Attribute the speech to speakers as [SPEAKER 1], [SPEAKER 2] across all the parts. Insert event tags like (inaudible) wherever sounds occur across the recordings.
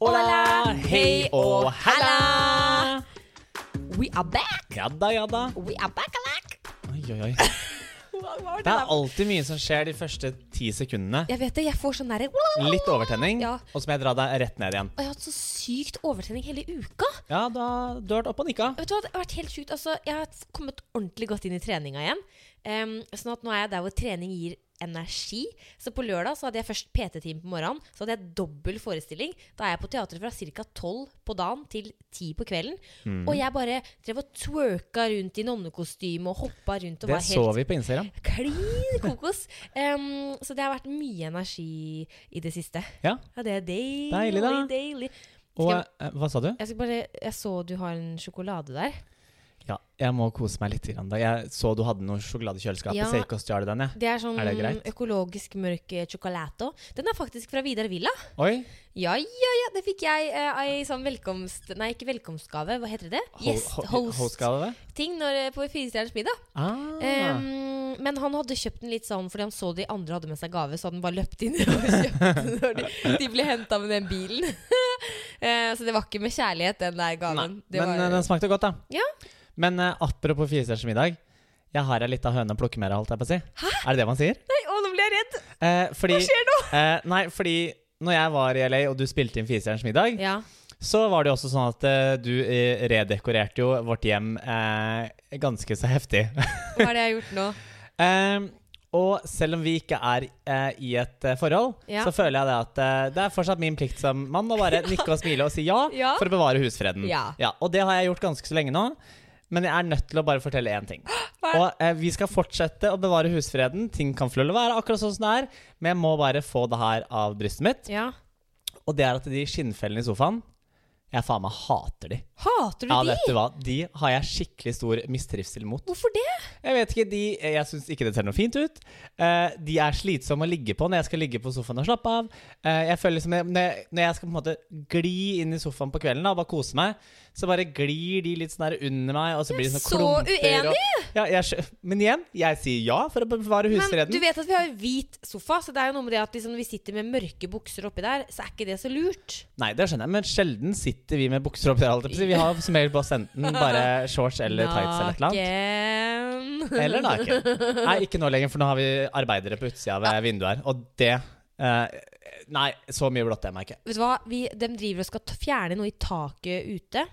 [SPEAKER 1] Hola, hei og halla.
[SPEAKER 2] We are back!
[SPEAKER 1] Ja da, ja da.
[SPEAKER 2] We are back alack!
[SPEAKER 1] Oi, oi, oi.
[SPEAKER 2] Hva var
[SPEAKER 1] Det
[SPEAKER 2] det
[SPEAKER 1] er
[SPEAKER 2] da?
[SPEAKER 1] alltid mye som skjer de første ti sekundene.
[SPEAKER 2] Jeg vet det, jeg får sånn derre
[SPEAKER 1] Litt overtenning,
[SPEAKER 2] Ja.
[SPEAKER 1] og så må jeg dra deg rett ned igjen.
[SPEAKER 2] Og jeg har hatt så sykt overtenning hele uka.
[SPEAKER 1] Ja, da du har vært oppe og nikka.
[SPEAKER 2] Vet du hva, det har vært helt sjukt. Altså, jeg har kommet ordentlig godt inn i treninga igjen. Um, sånn at nå er jeg der hvor trening gir energi. Så på lørdag så hadde jeg først PT-time på morgenen. Så hadde jeg dobbel forestilling. Da er jeg på teatret fra ca. tolv på dagen til ti på kvelden.
[SPEAKER 1] Mm.
[SPEAKER 2] Og jeg bare drev og twerka rundt i nonnekostyme og hoppa rundt og
[SPEAKER 1] Det
[SPEAKER 2] var
[SPEAKER 1] så
[SPEAKER 2] helt
[SPEAKER 1] vi på Instagram.
[SPEAKER 2] klin kokos. Um, så det har vært mye energi i det siste.
[SPEAKER 1] Ja,
[SPEAKER 2] Ja, det er deilig,
[SPEAKER 1] Deilig, da.
[SPEAKER 2] deilig.
[SPEAKER 1] Og
[SPEAKER 2] Skal
[SPEAKER 1] eh, hva sa du?
[SPEAKER 2] Jeg, skal bare, jeg så du har en sjokolade der.
[SPEAKER 1] Ja, jeg må kose meg litt. Grann, da. Jeg så du hadde noe sjokolade i kjøleskapet,
[SPEAKER 2] Ja.
[SPEAKER 1] så jeg gikk og stjal den. jeg.
[SPEAKER 2] Det er sånn
[SPEAKER 1] Er det greit?
[SPEAKER 2] økologisk mørk eh, chocolato. Den er faktisk fra Vidar Villa.
[SPEAKER 1] Oi,
[SPEAKER 2] Ja, ja, ja. Det fikk jeg eh, ei sånn velkomst... Nei, ikke velkomstgave. Hva heter det? Gjest, host,
[SPEAKER 1] Hostgave?
[SPEAKER 2] ting når, eh, på Firestjerners middag.
[SPEAKER 1] Ah.
[SPEAKER 2] Ehm, men han hadde kjøpt den litt sånn fordi han så de andre hadde med seg gave, så hadde han bare løpt inn (laughs) og kjøpt den når de, de ble henta med den bilen. (laughs) Eh, så det var ikke med kjærlighet, den der gaven.
[SPEAKER 1] Nei,
[SPEAKER 2] Det
[SPEAKER 1] men
[SPEAKER 2] var,
[SPEAKER 1] eh, den smakte godt, da.
[SPEAKER 2] Ja.
[SPEAKER 1] Men eh, apropos firestjerners middag. Jeg har ei lita høne å plukke med deg, holdt jeg på å si. Er det det man sier?
[SPEAKER 2] Nei, å, nå ble jeg redd!
[SPEAKER 1] Eh, fordi,
[SPEAKER 2] Hva skjer nå?
[SPEAKER 1] (laughs) Eh, nei, fordi når jeg var i LA, og du spilte inn Firestjerners middag,
[SPEAKER 2] Ja.
[SPEAKER 1] så var det jo også sånn at eh, du eh, redekorerte jo vårt hjem eh, ganske så heftig.
[SPEAKER 2] Hva er det jeg har gjort nå?
[SPEAKER 1] Eh, og selv om vi ikke er eh, i et eh, forhold,
[SPEAKER 2] Ja.
[SPEAKER 1] så føler jeg det at eh, det er fortsatt min plikt som mann å
[SPEAKER 2] (laughs)
[SPEAKER 1] bare nikke og smile og si ja,
[SPEAKER 2] Ja.
[SPEAKER 1] for å bevare husfreden.
[SPEAKER 2] Ja.
[SPEAKER 1] Og det har jeg gjort ganske så lenge nå. Men jeg er nødt til å bare fortelle én ting.
[SPEAKER 2] (gasps) Hva er-
[SPEAKER 1] Og eh, Vi skal fortsette å bevare husfreden. Ting kan få lov å være akkurat sånn som det er, men jeg må bare få det her av brystet mitt.
[SPEAKER 2] Ja.
[SPEAKER 1] Og det er at de skinnfellene i sofaen Jeg faen meg hater de.
[SPEAKER 2] Hater du
[SPEAKER 1] Ja,
[SPEAKER 2] de?
[SPEAKER 1] vet du hva? De har jeg skikkelig stor mistrivsel mot.
[SPEAKER 2] Hvorfor det?
[SPEAKER 1] Jeg vet ikke, de, jeg syns ikke det ser noe fint ut. Eh, de er slitsomme å ligge på når jeg skal ligge på sofaen og slappe av. Eh, jeg føler liksom, Når jeg, når jeg skal på en måte gli inn i sofaen på kvelden da, og bare kose meg, så bare glir de litt sånn der under meg. Og så blir det sånn
[SPEAKER 2] så
[SPEAKER 1] klumper.
[SPEAKER 2] uenig!
[SPEAKER 1] Og, ja, jeg, skjø- men igjen, jeg sier ja for å bevare
[SPEAKER 2] Men du
[SPEAKER 1] husfreden.
[SPEAKER 2] vet at vi har jo hvit sofa, så det er jo noe med det at liksom, vi sitter med mørke bukser oppi der, så er ikke det så lurt.
[SPEAKER 1] Nei, det skjønner jeg, men sjelden sitter vi med bukser opp der. holdt jeg på å si. Vi har som regel på oss enten bare shorts eller tights eller et eller annet.
[SPEAKER 2] Naken.
[SPEAKER 1] Eller naken. Nei, ikke nå lenger, for nå har vi arbeidere på utsida ved vinduet her. Og det eh, Nei, så mye blått er meg ikke.
[SPEAKER 2] Vet du hva? Vi, de driver og skal t- fjerne noe i taket ute.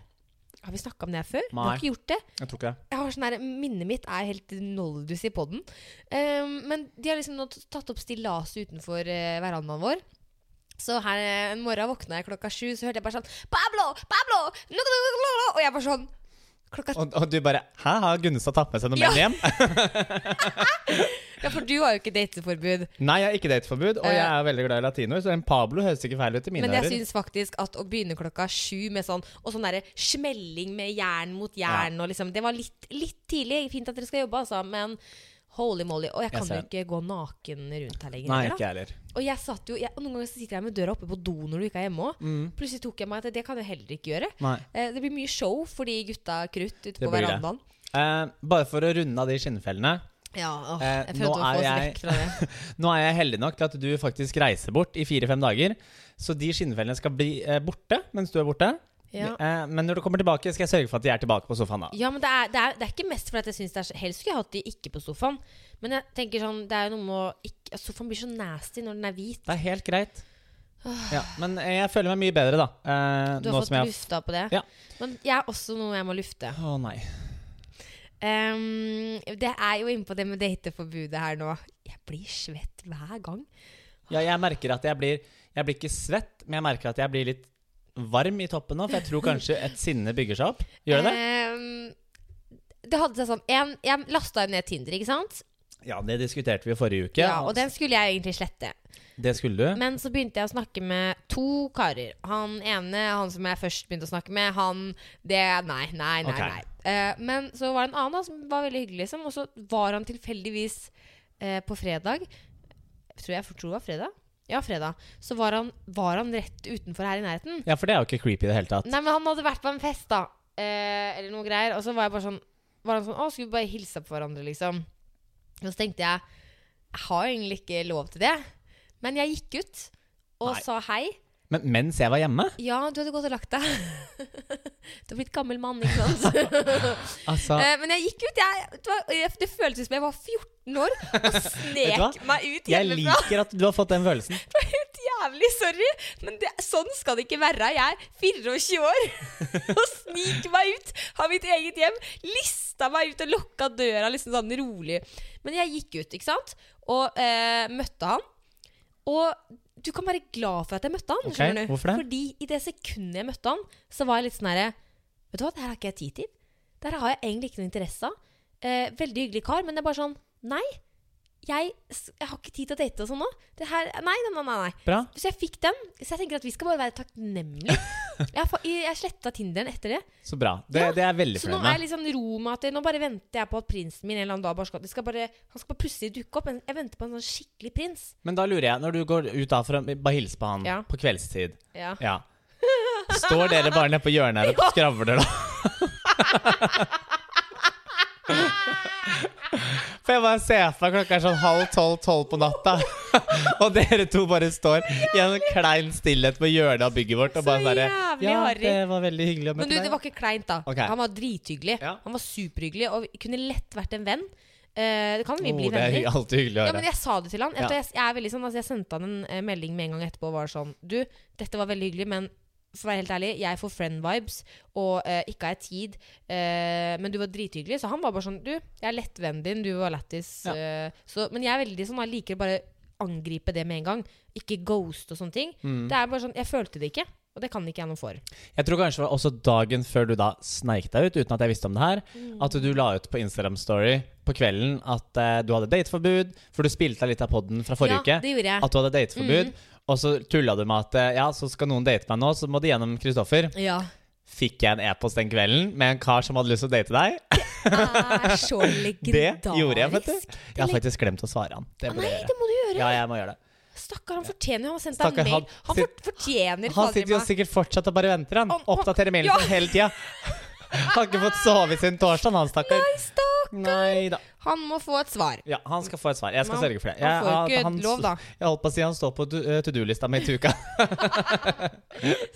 [SPEAKER 2] Har vi snakka om det her før? Vi
[SPEAKER 1] Nei.
[SPEAKER 2] har ikke gjort det.
[SPEAKER 1] Jeg tror ikke det.
[SPEAKER 2] Jeg har sånn her, Minnet mitt er helt noldus i poden. Um, men de har liksom nå t- tatt opp stillaset utenfor eh, verandaen vår. Så her eh, en morgen våkna jeg klokka sju, så hørte jeg bare sånn Pablo! Pablo! Nå- nå- nå- nå- nå!» Og jeg bare sånn Klokka
[SPEAKER 1] Og, og du bare Hæ, har Gunnestad tatt med seg noe menn hjem? (laughs)
[SPEAKER 2] Ja, for du har jo ikke dateforbud.
[SPEAKER 1] Nei, jeg har ikke dateforbud, og jeg er veldig glad i latinoer, så en Pablo høres ikke feil ut i mine
[SPEAKER 2] Men jeg
[SPEAKER 1] ører.
[SPEAKER 2] syns faktisk at å begynne klokka sju med sånn Og sånn derre smelling med jern mot jern og liksom Det var litt, litt tidlig. Fint at dere skal jobbe, altså, men holy moly. Og jeg kan
[SPEAKER 1] ser
[SPEAKER 2] jo ikke gå naken rundt her lenger.
[SPEAKER 1] Nei,
[SPEAKER 2] heller,
[SPEAKER 1] ikke jeg heller.
[SPEAKER 2] da. Og jeg satt jo jeg, og Noen ganger så sitter jeg med døra oppe på do når du ikke er hjemme òg. Plutselig tok jeg meg at det kan jeg heller ikke gjøre.
[SPEAKER 1] Mm. Nei.
[SPEAKER 2] Eh, det blir mye show for de gutta krutt ute på
[SPEAKER 1] blir det.
[SPEAKER 2] verandaen.
[SPEAKER 1] Eh, bare for å runde av de skinnfellene. (laughs)
[SPEAKER 2] Ja, åh,
[SPEAKER 1] Eh,
[SPEAKER 2] jeg
[SPEAKER 1] nå
[SPEAKER 2] prøvde å få
[SPEAKER 1] er
[SPEAKER 2] oss
[SPEAKER 1] jeg-
[SPEAKER 2] vekk fra det.
[SPEAKER 1] Nå er jeg heldig nok til at du faktisk reiser bort i fire-fem dager, så de skinnfellene skal bli eh, borte mens du er borte.
[SPEAKER 2] Ja.
[SPEAKER 1] Eh, men når du kommer tilbake, skal jeg sørge for at de er tilbake på sofaen da.
[SPEAKER 2] Ja, men det er, det er, det er ikke mest fordi at jeg synes det er så Helst skulle jeg hatt de ikke på sofaen. Men jeg tenker sånn, det er jo noe med å ikke, at Sofaen blir så nasty når den er hvit.
[SPEAKER 1] Det er helt greit. Ja, men eh, jeg føler meg mye bedre, da. Eh,
[SPEAKER 2] Ah. Du har
[SPEAKER 1] nå
[SPEAKER 2] fått
[SPEAKER 1] som jeg
[SPEAKER 2] lufta på det.
[SPEAKER 1] Ja.
[SPEAKER 2] Men jeg har også noe jeg må lufte.
[SPEAKER 1] Å nei.
[SPEAKER 2] Ehm, det er jo inne på det med dateforbudet her nå. Jeg blir svett hver gang.
[SPEAKER 1] Ja, jeg merker at jeg blir Jeg blir ikke svett, men jeg merker at jeg blir litt varm i toppen nå, for jeg tror kanskje et sinne bygger seg opp. Gjør det det?
[SPEAKER 2] Ehm, det hadde seg sånn en, Jeg lasta jo ned Tinder, ikke sant?
[SPEAKER 1] Ja, det diskuterte vi jo forrige uke.
[SPEAKER 2] Eh. ja, og den skulle jeg egentlig slette.
[SPEAKER 1] Det skulle du.
[SPEAKER 2] Men så begynte jeg å snakke med to karer. Han ene, han som jeg først begynte å snakke med, han Det Nei, nei, nei.
[SPEAKER 1] Ok.
[SPEAKER 2] nei. Eh, men så var det en annen da, som var veldig hyggelig, liksom. Og så var han tilfeldigvis eh, på fredag Tror jeg tror det var fredag. Ja, fredag. Så var han, var han rett utenfor her i nærheten.
[SPEAKER 1] Ja, for det er jo ikke creepy i det hele tatt.
[SPEAKER 2] Nei, men han hadde vært på en fest, da. Eh, eller noe greier. Og så var jeg bare sånn Var han sånn Å, skulle vi bare hilse på hverandre, liksom? Og så tenkte jeg Jeg har jo egentlig ikke lov til det. Men jeg gikk ut og
[SPEAKER 1] Nei.
[SPEAKER 2] sa hei.
[SPEAKER 1] Men mens jeg var hjemme?
[SPEAKER 2] Ja, du hadde gått og lagt deg. (laughs) du har blitt gammel mann,
[SPEAKER 1] (laughs)
[SPEAKER 2] ikke sant?
[SPEAKER 1] Altså,
[SPEAKER 2] Eh, Men jeg gikk ut. Jeg, det, var, jeg- det føltes som jeg var 14 år
[SPEAKER 1] (laughs)
[SPEAKER 2] og
[SPEAKER 1] Vet du
[SPEAKER 2] snek meg ut
[SPEAKER 1] jeg
[SPEAKER 2] hjemmefra.
[SPEAKER 1] liker at du har fått den følelsen.
[SPEAKER 2] Det var helt jævlig, sorry, men det, sånn skal det ikke være. Jeg er 24 år (laughs) og sniker meg ut av mitt eget hjem. Lista meg ut og lukka døra liksom sånn rolig. Men jeg gikk ut, ikke sant, og eh, møtte han. Og du kan være glad for at jeg møtte han.
[SPEAKER 1] Ok,
[SPEAKER 2] skjønner du?
[SPEAKER 1] hvorfor det?
[SPEAKER 2] Fordi i det sekundet jeg møtte han, så var jeg litt sånn herre Vet du hva, det her har ikke jeg tid til. Det her har jeg egentlig ikke noe interesse av. Eh, veldig hyggelig kar, men det er bare sånn Nei. Jeg, s- jeg har ikke tid til å date og sånn nå. Det her, nei, nei, nei, nei, nei.
[SPEAKER 1] Bra.
[SPEAKER 2] Så jeg fikk den. Så jeg tenker at vi skal bare være
[SPEAKER 1] (laughs)
[SPEAKER 2] takknemlige. Jeg, fa- jeg sletta Tinderen etter det.
[SPEAKER 1] Så bra. Det,
[SPEAKER 2] Ja,
[SPEAKER 1] det er jeg veldig
[SPEAKER 2] Så nå
[SPEAKER 1] fornøyd
[SPEAKER 2] er jeg
[SPEAKER 1] med.
[SPEAKER 2] liksom ro med at jeg, nå bare venter jeg på at prinsen min en eller annen dag bare skal, det skal bare, Han skal bare plutselig dukke opp. Men jeg venter på en sånn skikkelig prins.
[SPEAKER 1] Men da lurer jeg, når du går ut da for å bare hilse på han
[SPEAKER 2] Ja.
[SPEAKER 1] på kveldstid
[SPEAKER 2] Ja.
[SPEAKER 1] Ja. Står dere bare nede på hjørnet
[SPEAKER 2] (laughs)
[SPEAKER 1] her og skravler, da? For jeg bare ser for meg klokka er sånn halv tolv, tolv på natta, og dere to bare står i en klein stillhet på hjørnet av bygget vårt og
[SPEAKER 2] Så
[SPEAKER 1] bare sånn
[SPEAKER 2] jævlig
[SPEAKER 1] Ja,
[SPEAKER 2] harry."
[SPEAKER 1] det var veldig hyggelig å
[SPEAKER 2] Men du,
[SPEAKER 1] møte
[SPEAKER 2] det
[SPEAKER 1] deg.
[SPEAKER 2] var ikke kleint, da.
[SPEAKER 1] Ok.
[SPEAKER 2] Han var drithyggelig.
[SPEAKER 1] Ja.
[SPEAKER 2] Han var superhyggelig og vi kunne lett vært en venn. Eh, det kan vi
[SPEAKER 1] Oh,
[SPEAKER 2] bli
[SPEAKER 1] det er
[SPEAKER 2] venner.
[SPEAKER 1] hy- alltid hyggelig å
[SPEAKER 2] Ja,
[SPEAKER 1] høre.
[SPEAKER 2] men jeg sa det til han.
[SPEAKER 1] Ja.
[SPEAKER 2] Etter jeg, jeg, er veldig sånn, altså, jeg sendte han en eh, melding med en gang etterpå og var sånn Du, dette var veldig hyggelig, men for å være helt ærlig, jeg får friend vibes, og eh, ikke har jeg tid. eh, men du var drithyggelig. Så han var bare sånn Du, jeg er lettvennen din, du var lættis.
[SPEAKER 1] Ja.
[SPEAKER 2] eh, så- men jeg er veldig sånn, jeg liker å bare angripe det med en gang. Ikke ghost og sånne ting.
[SPEAKER 1] Mm.
[SPEAKER 2] Det er bare sånn, Jeg følte det ikke, og det kan ikke jeg noe for.
[SPEAKER 1] Jeg tror kanskje det var også dagen før du da sneik deg ut, uten at jeg visste om det her,
[SPEAKER 2] Mm.
[SPEAKER 1] at du la ut på Instagram Story på kvelden at eh, du hadde dateforbud, for du spilte av litt av podden fra forrige
[SPEAKER 2] ja,
[SPEAKER 1] uke,
[SPEAKER 2] det gjorde jeg.
[SPEAKER 1] at du hadde dateforbud,
[SPEAKER 2] Mm.
[SPEAKER 1] og så tulla du med at eh, ja, så skal noen date meg nå, så må de gjennom Kristoffer.
[SPEAKER 2] Ja.
[SPEAKER 1] Fikk jeg en e-post den kvelden med en kar som hadde lyst til å date deg?
[SPEAKER 2] Er Ah, så
[SPEAKER 1] (laughs) Det
[SPEAKER 2] legendarisk.
[SPEAKER 1] gjorde jeg, vet du. Jeg har faktisk glemt å svare han. Det
[SPEAKER 2] Ah,
[SPEAKER 1] burde
[SPEAKER 2] Nei,
[SPEAKER 1] jeg gjøre.
[SPEAKER 2] det må du gjøre.
[SPEAKER 1] Ja, jeg må gjøre det.
[SPEAKER 2] Stakkar, han fortjener Han har sendt
[SPEAKER 1] Stakkar,
[SPEAKER 2] deg
[SPEAKER 1] han
[SPEAKER 2] mail. Han
[SPEAKER 1] sit-
[SPEAKER 2] fort- fortjener
[SPEAKER 1] Han
[SPEAKER 2] fader
[SPEAKER 1] sitter jo
[SPEAKER 2] meg.
[SPEAKER 1] sikkert fortsatt og bare venter, han.
[SPEAKER 2] Om- om-
[SPEAKER 1] Oppdaterer mailen
[SPEAKER 2] Ja.
[SPEAKER 1] sin hele tida. (laughs) Har ikke fått sove siden torsdag, han stakkar.
[SPEAKER 2] Nei, stakkar.
[SPEAKER 1] Nei da.
[SPEAKER 2] Han må få et svar.
[SPEAKER 1] Ja, han skal få et svar. Jeg skal
[SPEAKER 2] Men
[SPEAKER 1] sørge for det.
[SPEAKER 2] han får
[SPEAKER 1] Jeg-
[SPEAKER 2] ikke
[SPEAKER 1] han-
[SPEAKER 2] lov, da.
[SPEAKER 1] Jeg holdt på å si han står på du- eh, to do-lista mi til uka.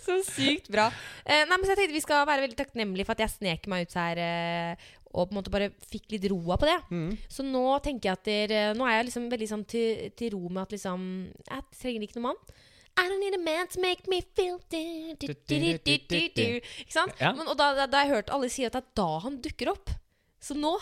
[SPEAKER 2] Så sykt bra. Eh, nei, men så jeg tenkte Vi skal være veldig takknemlige for at jeg snek meg ut her eh, og på en måte bare fikk litt roa på det.
[SPEAKER 1] Mm.
[SPEAKER 2] Så nå tenker jeg at dere- Nå er jeg liksom veldig sånn til, til ro med at liksom Jeg trenger ikke noen mann. I don't need a man to make me feel du, du, du, du, du, du, du. Ikke sant?
[SPEAKER 1] Ja.
[SPEAKER 2] Men, og da, da, da har jeg hørt alle si at det er da han dukker opp. Så nå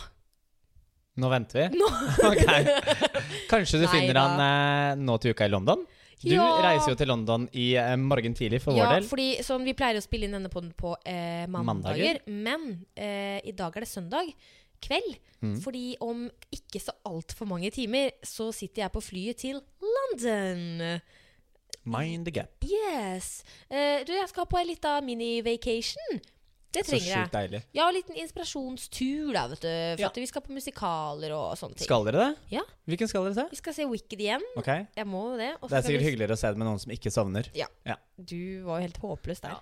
[SPEAKER 1] Nå venter vi.
[SPEAKER 2] Nå.
[SPEAKER 1] (laughs) Ok. Kanskje du
[SPEAKER 2] Nei
[SPEAKER 1] finner
[SPEAKER 2] da.
[SPEAKER 1] han eh, nå til uka i London? Du
[SPEAKER 2] Ja.
[SPEAKER 1] reiser jo til London i eh, morgen tidlig for
[SPEAKER 2] ja,
[SPEAKER 1] vår del.
[SPEAKER 2] fordi sånn, Vi pleier å spille inn denne podden på eh, mandager,
[SPEAKER 1] Mandager.
[SPEAKER 2] men eh, i dag er det søndag kveld.
[SPEAKER 1] Mm.
[SPEAKER 2] Fordi om ikke så altfor mange timer så sitter jeg på flyet til London.
[SPEAKER 1] Mind the gap.
[SPEAKER 2] Yes. Eh, du, jeg skal på en liten mini-vacation. Det
[SPEAKER 1] Så
[SPEAKER 2] trenger
[SPEAKER 1] sjukt
[SPEAKER 2] jeg.
[SPEAKER 1] deilig.
[SPEAKER 2] Ja, en liten inspirasjonstur, da, vet du. For
[SPEAKER 1] Ja.
[SPEAKER 2] at vi skal på musikaler og sånne ting.
[SPEAKER 1] Skal dere det?
[SPEAKER 2] Ja.
[SPEAKER 1] Hvilken skal dere se?
[SPEAKER 2] Vi skal se Wicked igjen.
[SPEAKER 1] Ok
[SPEAKER 2] Jeg må jo det. og så
[SPEAKER 1] Det er
[SPEAKER 2] skal vi
[SPEAKER 1] sikkert hyggeligere å se det med noen som ikke sovner.
[SPEAKER 2] Du var jo helt håpløs der.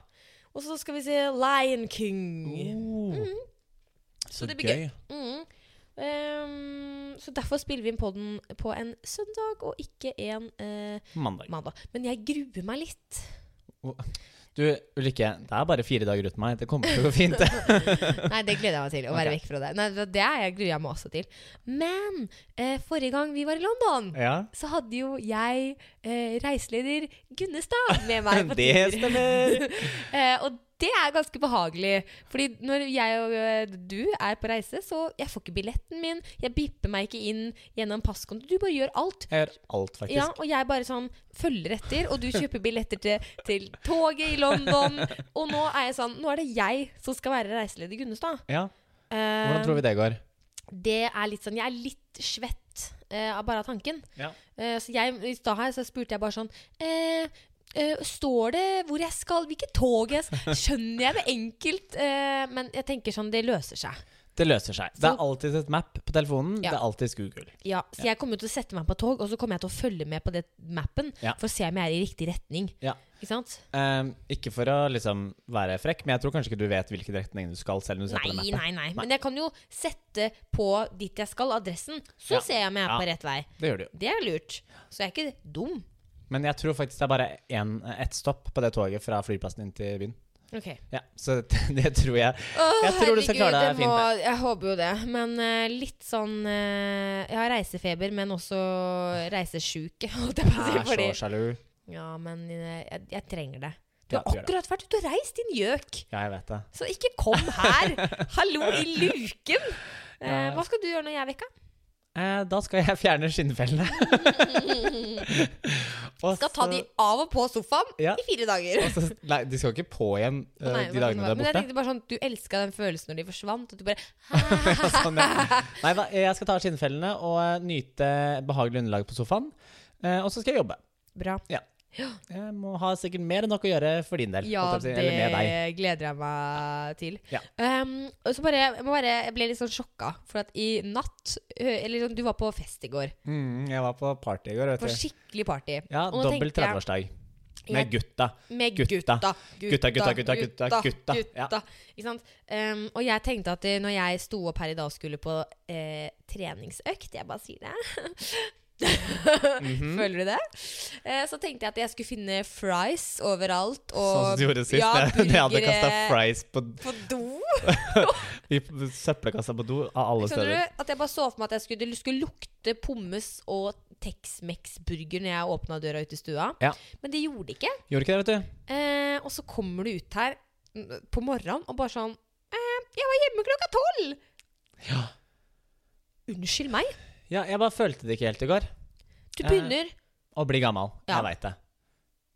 [SPEAKER 2] Og så skal vi se Lion
[SPEAKER 1] Oh.
[SPEAKER 2] King.
[SPEAKER 1] Så
[SPEAKER 2] Mm-hmm. det blir
[SPEAKER 1] gøy.
[SPEAKER 2] Mm. Ehm, så derfor spiller vi inn podden på en søndag og ikke en eh,
[SPEAKER 1] Mandag.
[SPEAKER 2] mandag. Men jeg gruer meg
[SPEAKER 1] (laughs)
[SPEAKER 2] litt.
[SPEAKER 1] Du, Ulrikke, det er bare fire dager uten meg. Det kommer til å gå
[SPEAKER 2] (laughs)
[SPEAKER 1] fint. det.
[SPEAKER 2] Nei, det gleder jeg meg til. Å være
[SPEAKER 1] Ok.
[SPEAKER 2] vekk fra deg. Nei, det- det er jeg gruer jeg meg også til. Men eh, forrige gang vi var i London,
[SPEAKER 1] Ja.
[SPEAKER 2] så hadde jo jeg eh, reiseleder Gunnestad med
[SPEAKER 1] (laughs)
[SPEAKER 2] meg på
[SPEAKER 1] Det
[SPEAKER 2] tur. (laughs)
[SPEAKER 1] stemmer.
[SPEAKER 2] Eh, og det er ganske behagelig. Fordi når jeg og eh, du er på reise, så jeg får ikke billetten min. Jeg bipper meg ikke inn gjennom passkonto. Du bare gjør alt.
[SPEAKER 1] Jeg gjør alt, faktisk.
[SPEAKER 2] Ja, og jeg bare sånn følger etter, og du kjøper billetter til, til toget i London. Og nå er jeg sånn Nå er det jeg som skal være reiseleder i Gunnestad.
[SPEAKER 1] Ja.
[SPEAKER 2] Eh,
[SPEAKER 1] Hvordan tror vi det går?
[SPEAKER 2] det er litt sånn Jeg er litt svett eh, av bare av tanken.
[SPEAKER 1] Ja.
[SPEAKER 2] Eh, så jeg, I stad her så spurte jeg bare sånn eh, eh, Står det hvor jeg skal? Hvilket tog jeg skal? Skjønner jeg det enkelt? Eh, men jeg tenker sånn, det løser seg.
[SPEAKER 1] Det løser seg. Det
[SPEAKER 2] Så-
[SPEAKER 1] er alltid et map på telefonen.
[SPEAKER 2] Ja.
[SPEAKER 1] Det er alltid Google.
[SPEAKER 2] Ja, så jeg kommer jo til å sette meg på tog, og så kommer jeg til å følge med på det mappen
[SPEAKER 1] Ja.
[SPEAKER 2] for å se om jeg er i riktig retning.
[SPEAKER 1] Ja.
[SPEAKER 2] Ikke sant?
[SPEAKER 1] Ehm, ikke for å liksom være frekk, men jeg tror kanskje ikke du vet hvilken retning du skal, selv om du ser på det
[SPEAKER 2] Nei,
[SPEAKER 1] mappet.
[SPEAKER 2] nei, nei. Men jeg kan jo sette på dit jeg skal, adressen. Så
[SPEAKER 1] Ja.
[SPEAKER 2] ser jeg om jeg er
[SPEAKER 1] Ja.
[SPEAKER 2] på rett vei.
[SPEAKER 1] Det gjør du jo.
[SPEAKER 2] Det er lurt. Så jeg er ikke dum.
[SPEAKER 1] Men jeg tror faktisk det er bare en, ett stopp på det toget fra flyplassen inn til byen.
[SPEAKER 2] Ok.
[SPEAKER 1] Ja, Så (laughs) det tror
[SPEAKER 2] (laughs)
[SPEAKER 1] jeg.
[SPEAKER 2] Åh,
[SPEAKER 1] Jeg tror du skal klare deg
[SPEAKER 2] herregud, det
[SPEAKER 1] fint,
[SPEAKER 2] Må, jeg håper jo det. Men eh, litt sånn eh, Jeg har reisefeber, men også reisesjuke. (laughs) holdt jeg på å si,
[SPEAKER 1] Jeg er så
[SPEAKER 2] fordi-
[SPEAKER 1] sjalu.
[SPEAKER 2] Ja, men eh, jeg, jeg trenger det. Du
[SPEAKER 1] Ja,
[SPEAKER 2] har
[SPEAKER 1] du gjør det.
[SPEAKER 2] akkurat vært ute og reist, din gjøk!
[SPEAKER 1] Ja, jeg vet det.
[SPEAKER 2] Så ikke kom her!
[SPEAKER 1] (laughs)
[SPEAKER 2] Hallo i luken! Eh,
[SPEAKER 1] Ja.
[SPEAKER 2] hva skal du gjøre når jeg er vekka?
[SPEAKER 1] Eh, da skal jeg fjerne
[SPEAKER 2] (laughs)
[SPEAKER 1] skinnfellene. Og
[SPEAKER 2] Skal ta
[SPEAKER 1] så-
[SPEAKER 2] de av og på sofaen
[SPEAKER 1] Ja.
[SPEAKER 2] i fire dager.
[SPEAKER 1] og så- Nei, de skal ikke på igjen eh,
[SPEAKER 2] Nei,
[SPEAKER 1] de dagene du er
[SPEAKER 2] Men jeg
[SPEAKER 1] borte.
[SPEAKER 2] tenkte bare sånn, du elska den følelsen når de forsvant. At du bare
[SPEAKER 1] (laughs) Ja, sånn,
[SPEAKER 2] (laughs)
[SPEAKER 1] ja. Nei da, jeg skal ta av skinnfellene og eh, nyte behagelig underlag på sofaen. Eh, og så skal jeg jobbe.
[SPEAKER 2] Bra.
[SPEAKER 1] Jeg må ha sikkert mer enn nok å gjøre for din del.
[SPEAKER 2] Ja,
[SPEAKER 1] holdt jeg på å si, Eller med deg.
[SPEAKER 2] det gleder jeg meg til.
[SPEAKER 1] Ja.
[SPEAKER 2] Um, og så bare, jeg, må bare, jeg ble litt sånn sjokka, for at i natt hø- Eller sånn, du var på fest i går.
[SPEAKER 1] Mm, jeg var på party i går, vet
[SPEAKER 2] På
[SPEAKER 1] du.
[SPEAKER 2] skikkelig party.
[SPEAKER 1] Ja,
[SPEAKER 2] Og nå
[SPEAKER 1] Dobbel
[SPEAKER 2] tenkte jeg-
[SPEAKER 1] 30-årsdag. Med gutta.
[SPEAKER 2] Med
[SPEAKER 1] Gutta.
[SPEAKER 2] gutta. Gutta,
[SPEAKER 1] Gutta, gutta, gutta, gutta, gutta.
[SPEAKER 2] gutta. Ikke sant? Um, og jeg tenkte at eh, når jeg sto opp her i dag og skulle på eh, treningsøkt Jeg bare sier det.
[SPEAKER 1] Mhm.
[SPEAKER 2] (laughs) Føler du det? Eh, så tenkte jeg at jeg skulle finne fries overalt.
[SPEAKER 1] Sånn som
[SPEAKER 2] Og,
[SPEAKER 1] du gjorde sist.
[SPEAKER 2] Ja,
[SPEAKER 1] Ja, (laughs) jeg hadde
[SPEAKER 2] burgere
[SPEAKER 1] kasta fries på,
[SPEAKER 2] på do.
[SPEAKER 1] i søppelkassa på do av alle
[SPEAKER 2] Skjønner
[SPEAKER 1] steder.
[SPEAKER 2] du? At jeg bare så for meg at jeg skulle, det skulle lukte pommes og Tex-Mex-burger når jeg åpna døra ute i stua.
[SPEAKER 1] Ja.
[SPEAKER 2] Men det gjorde det ikke.
[SPEAKER 1] Gjorde ikke det, vet du.
[SPEAKER 2] Eh, og så kommer du ut her mm, på morgenen og bare sånn eh, 'Jeg var hjemme klokka tolv!'
[SPEAKER 1] Ja.
[SPEAKER 2] Unnskyld meg.
[SPEAKER 1] ja, jeg bare følte det ikke helt i går.
[SPEAKER 2] Du
[SPEAKER 1] Eh.
[SPEAKER 2] begynner
[SPEAKER 1] Å bli gammel.
[SPEAKER 2] Ja.
[SPEAKER 1] Jeg veit det.